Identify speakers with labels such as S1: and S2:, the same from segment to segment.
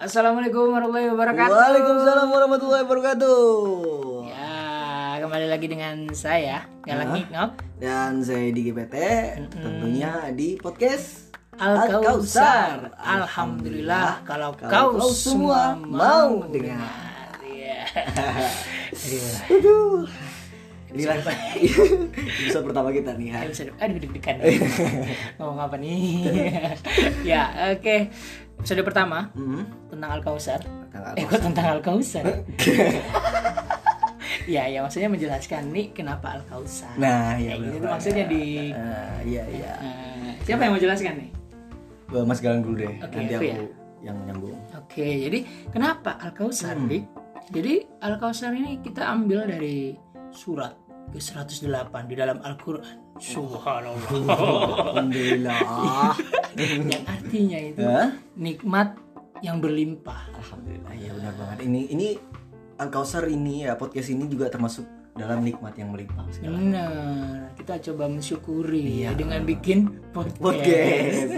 S1: Assalamualaikum warahmatullahi wabarakatuh.
S2: Waalaikumsalam warahmatullahi wabarakatuh.
S1: Ya, kembali lagi dengan saya Galang Ngiknok
S2: Dan saya di GPT, tentunya di podcast
S1: Al Kausar.
S2: Al-Kausar.
S1: Alhamdulillah kalau
S2: Kalau
S1: kau
S2: kau
S1: semua
S2: semua
S1: mau
S2: mau
S1: dengar. Iya.
S2: Aduh. Inilah episode pertama kita nih. Han.
S1: Aduh, sedep- aduh deg-degan. Ngomong apa nih? ya, oke. Episode pertama
S2: Hmm.
S1: tentang Al Kausar.
S2: Tanggal
S1: Eh, kok tentang Al Kausar? ya, ya maksudnya menjelaskan nih kenapa Al Kausar.
S2: Nah, ya
S1: Kayak gitu
S2: benar.
S1: maksudnya di-
S2: Eh, iya iya.
S1: Eh, siapa yang mau jelaskan nih?
S2: Gua Mas Galang dulu deh.
S1: Oke,
S2: Nanti
S1: aku ya.
S2: aku yang nyambung.
S1: Oke, jadi kenapa Al-Kausar,
S2: Hmm.
S1: Bi? Jadi Al-Kausar ini kita ambil dari surat ke-108 di dalam Al-Qur'an. Subhanallah.
S2: Alhamdulillah.
S1: yang artinya itu
S2: Hah?
S1: nikmat yang berlimpah.
S2: Alhamdulillah. Ya benar banget. Ini ini Al-Kausar ini ya podcast ini juga termasuk dalam nikmat yang melimpah
S1: Iya.
S2: segala.
S1: Benar. Kita coba mensyukuri
S2: Ya. Iya.
S1: dengan bikin podcast.
S2: Podcast.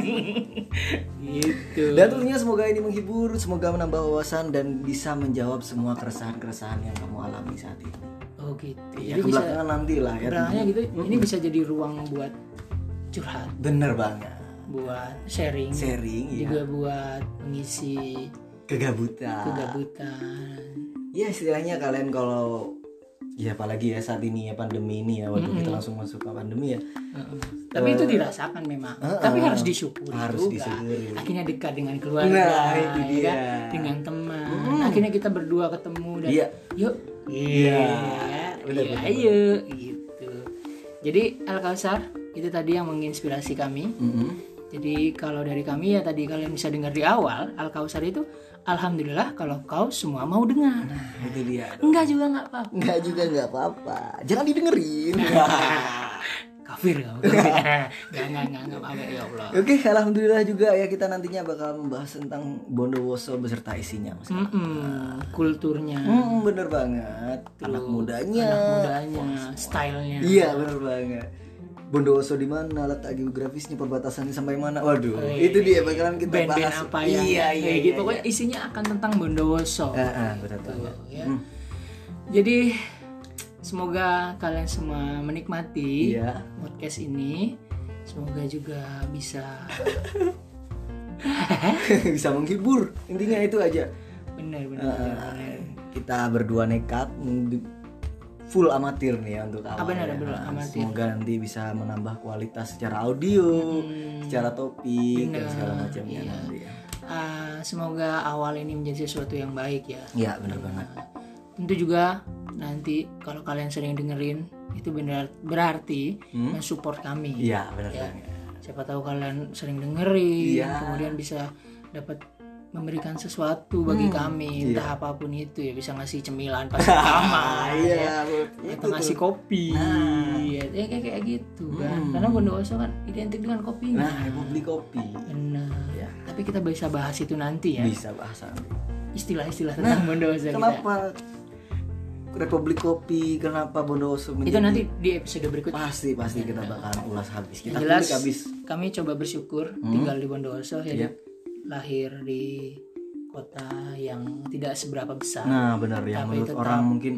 S1: gitu.
S2: Dan tentunya semoga ini menghibur, semoga menambah wawasan dan bisa menjawab semua keresahan-keresahan yang kamu alami saat ini.
S1: Oh, gitu.
S2: Ya,
S1: jadi bisa
S2: kebelakangan nanti lah ya.
S1: berangkatnya gitu. Ini bisa jadi ruang buat curhat,
S2: Bener banget.
S1: buat sharing.
S2: Sharing ya.
S1: juga buat mengisi
S2: Kegabutan.
S1: kegabutan.
S2: Ya istilahnya kalian kalau ya apalagi ya saat ini ya pandemi ini ya walaupun kita langsung masuk ke pandemi ya
S1: Heeh. Tapi itu dirasakan memang. Tapi harus disyukuri
S2: harus
S1: juga.
S2: disyukuri.
S1: Akhirnya dekat dengan keluarga,
S2: Nah, itu
S1: ya
S2: dia. Hmm.
S1: kan? dengan teman. Akhirnya kita berdua ketemu dan
S2: Iya.
S1: yuk.
S2: Iya. Benar,
S1: Iya,
S2: benar,
S1: ayo gitu. Jadi Al Kausar itu tadi yang menginspirasi kami.
S2: Mm-mm.
S1: Jadi kalau dari kami ya tadi kalian bisa dengar di awal Al Kausar itu alhamdulillah kalau kau semua mau dengar.
S2: itu dia.
S1: Enggak juga enggak apa-apa.
S2: Enggak juga nggak apa-apa. Jangan didengerin.
S1: kafir kamu nggak nggak nggak nggak apa ya Allah
S2: Oke, alhamdulillah juga ya kita nantinya bakal membahas tentang Bondowoso beserta isinya.
S1: Hmm.
S2: Mas.
S1: Mm-mm, kulturnya
S2: Hmm, bener banget. Anak mudanya.
S1: anak mudanya stylenya
S2: Iya, bener banget. Bondowoso di mana letak geografisnya perbatasannya sampai mana? Waduh, itu dia bakalan kita
S1: Oh, iya. band-band
S2: bahas.
S1: apa ya
S2: Iya, iya,
S1: kayak
S2: iya.
S1: gitu pokoknya isinya akan tentang Bondowoso
S2: Ah, ah, bener banget.
S1: ya. jadi semoga kalian semua menikmati
S2: Iya.
S1: podcast ini semoga juga bisa
S2: Iya. Bisa menghibur. Intinya itu aja.
S1: benar-benar
S2: Ah, kita berdua nekat mm, full amatir nih ya untuk awal.
S1: Ah, benar,
S2: ya.
S1: benar,
S2: Nah,
S1: amatir.
S2: Semoga nanti bisa menambah kualitas secara audio, secara topik
S1: Hmm.
S2: dan
S1: Benar,
S2: segala macamnya
S1: iya.
S2: nanti ya.
S1: Ah, semoga awal ini menjadi sesuatu yang baik ya
S2: Iya, bener banget.
S1: tentu juga nanti kalau kalian sering dengerin itu benar berarti mensupport kami
S2: Hmm? Iya, bener banget.
S1: siapa tahu kalian sering dengerin
S2: Iya.
S1: kemudian bisa dapat memberikan sesuatu bagi
S2: Hmm,
S1: kami
S2: iya.
S1: entah apapun itu ya bisa ngasih cemilan pas
S2: Ah,
S1: pertama
S2: iya, Nah.
S1: ya.
S2: itu
S1: atau ngasih kopi ya, ya kayak kayak gitu kan karena Bondowoso kan identik dengan kopi
S2: Nah, ibu beli kopi.
S1: benar
S2: Iya.
S1: tapi kita bisa bahas itu nanti ya
S2: Bisa bahasa.
S1: istilah-istilah tentang Bondowoso kita.
S2: Kenapa Republik Kopi? Kenapa Bondowoso
S1: itu
S2: menjadi?
S1: nanti di episode berikutnya
S2: Pasti pasti kita bakalan ulas habis. Kita
S1: Yang jelas
S2: kulik habis.
S1: kami coba bersyukur
S2: Hmm.
S1: tinggal di Bondowoso ya
S2: Iya.
S1: Dok. lahir di kota yang tidak seberapa besar
S2: Nah, benar ya.
S1: Tapi
S2: Menurut
S1: tetap-
S2: orang mungkin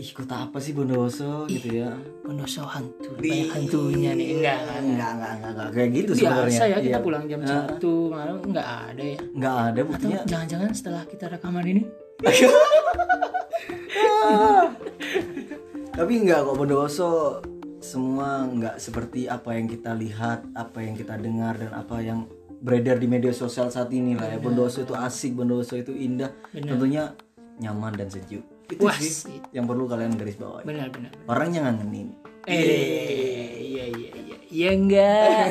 S2: ih kota apa sih Bondowoso gitu ya.
S1: Bondowoso hantu banyak hantunya nih enggak kan?
S2: Enggak, enggak, enggak, enggak. kayak gitu sebenarnya.
S1: biasa ya kita
S2: Iya.
S1: pulang jam satu malam enggak ada ya
S2: Enggak ada
S1: atau
S2: buktinya.
S1: jangan-jangan setelah kita rekaman ini
S2: Tapi enggak kok Bondowoso semua enggak seperti apa yang kita lihat, apa yang kita dengar dan apa yang beredar di media sosial saat ini lah ya. Bondowoso itu asik, Bondowoso itu indah, tentunya nyaman dan sejuk. Itu
S1: Wah,
S2: sih yang perlu kalian garis bawahi.
S1: benar-benar
S2: Orang yang ngangenin.
S1: Eh, iya iya iya. Iya enggak.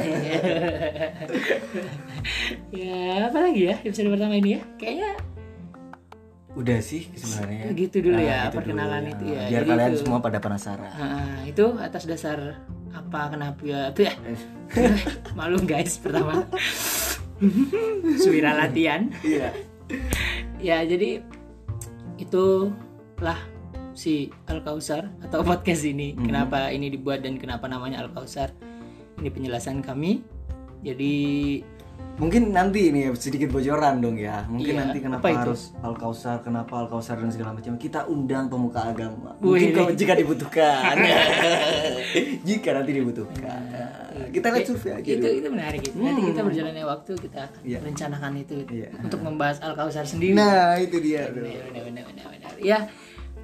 S1: ya, apa lagi ya episode pertama ini ya? Kayaknya
S2: Udah sih sebenarnya.
S1: gitu dulu
S2: Nah,
S1: ya
S2: gitu
S1: perkenalan
S2: dulu.
S1: itu ya.
S2: Nah, Biar
S1: Jadi
S2: kalian
S1: itu-
S2: semua pada penasaran.
S1: Ah, itu atas dasar apa kenapa ya itu ya malu guys pertama suwira latihan
S2: Iya.
S1: ya jadi itulah si Al Kausar atau podcast ini kenapa ini dibuat dan kenapa namanya Al Kausar ini penjelasan kami jadi
S2: mungkin nanti ini ya, sedikit bocoran dong ya mungkin
S1: Iya,
S2: nanti kenapa
S1: apa itu?
S2: harus al kausar kenapa al kausar dan segala macam kita undang pemuka agama mungkin
S1: Wih.
S2: kalau jika dibutuhkan jika nanti dibutuhkan kita lihat survei aja
S1: itu
S2: dulu
S1: itu menarik itu. Nanti kita berjalannya waktu kita akan
S2: Iya.
S1: rencanakan itu gitu.
S2: Iya.
S1: untuk membahas Al Kausar sendiri.
S2: nah itu dia tuh.
S1: Benar, benar, benar, benar, benar. Ya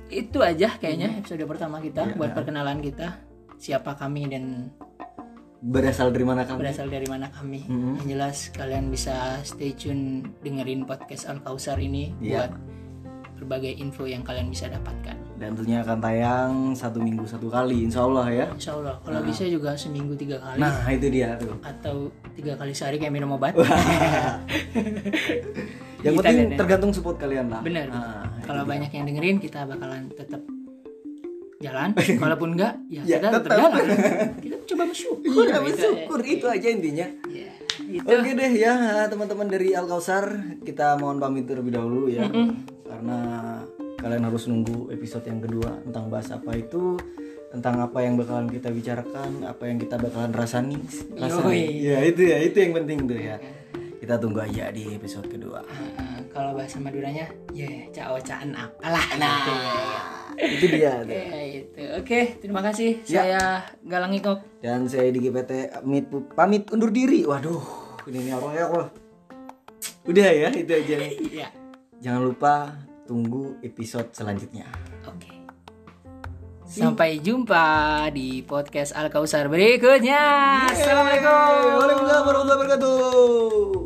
S1: itu aja kayaknya episode pertama kita buat perkenalan kita siapa kami dan
S2: berasal dari mana kamu
S1: berasal dari mana kami.
S2: Mm-hmm.
S1: Yang jelas kalian bisa stay tune dengerin podcast Al Kausar ini
S2: Iya.
S1: buat berbagai info yang kalian bisa dapatkan.
S2: dan tentunya akan tayang satu minggu satu kali insya Allah ya
S1: Insya Allah kalau bisa juga seminggu tiga kali
S2: nah itu dia tuh
S1: atau tiga kali sehari kayak minum obat.
S2: yang
S1: Kita lihat
S2: penting
S1: ya.
S2: tergantung support kalian lah
S1: Bener.
S2: Nah, itu
S1: Kalau
S2: dia.
S1: banyak yang dengerin kita bakalan tetap jalan. Walaupun enggak, ya,
S2: Ya,
S1: kita tetap
S2: tetap.
S1: jalan. Kita coba bersyukur.
S2: Iya,
S1: gitu.
S2: bersyukur itu aja intinya
S1: Ya, itu.
S2: Oke deh ya teman-teman dari Al Kausar kita mohon pamit terlebih dahulu ya karena kalian harus nunggu episode yang kedua tentang bahas apa itu tentang apa yang bakalan kita bicarakan apa yang kita bakalan rasani rasani
S1: Yoi.
S2: ya itu ya itu yang penting tuh ya kita tunggu aja di episode kedua
S1: Nah, kalau bahasa Maduranya, ya cao-caan apalah. Gitu.
S2: itu dia tuh.
S1: Ya, itu. Oke, terima kasih. Saya Galang Ikok.
S2: dan saya di GPT pamit, pamit undur diri waduh ini apa ya wah. udah ya itu aja
S1: Iya.
S2: jangan lupa tunggu episode selanjutnya
S1: Oke. Sampai jumpa di podcast Al Kausar berikutnya. Assalamualaikum.
S2: Assalamualaikum warahmatullahi wabarakatuh.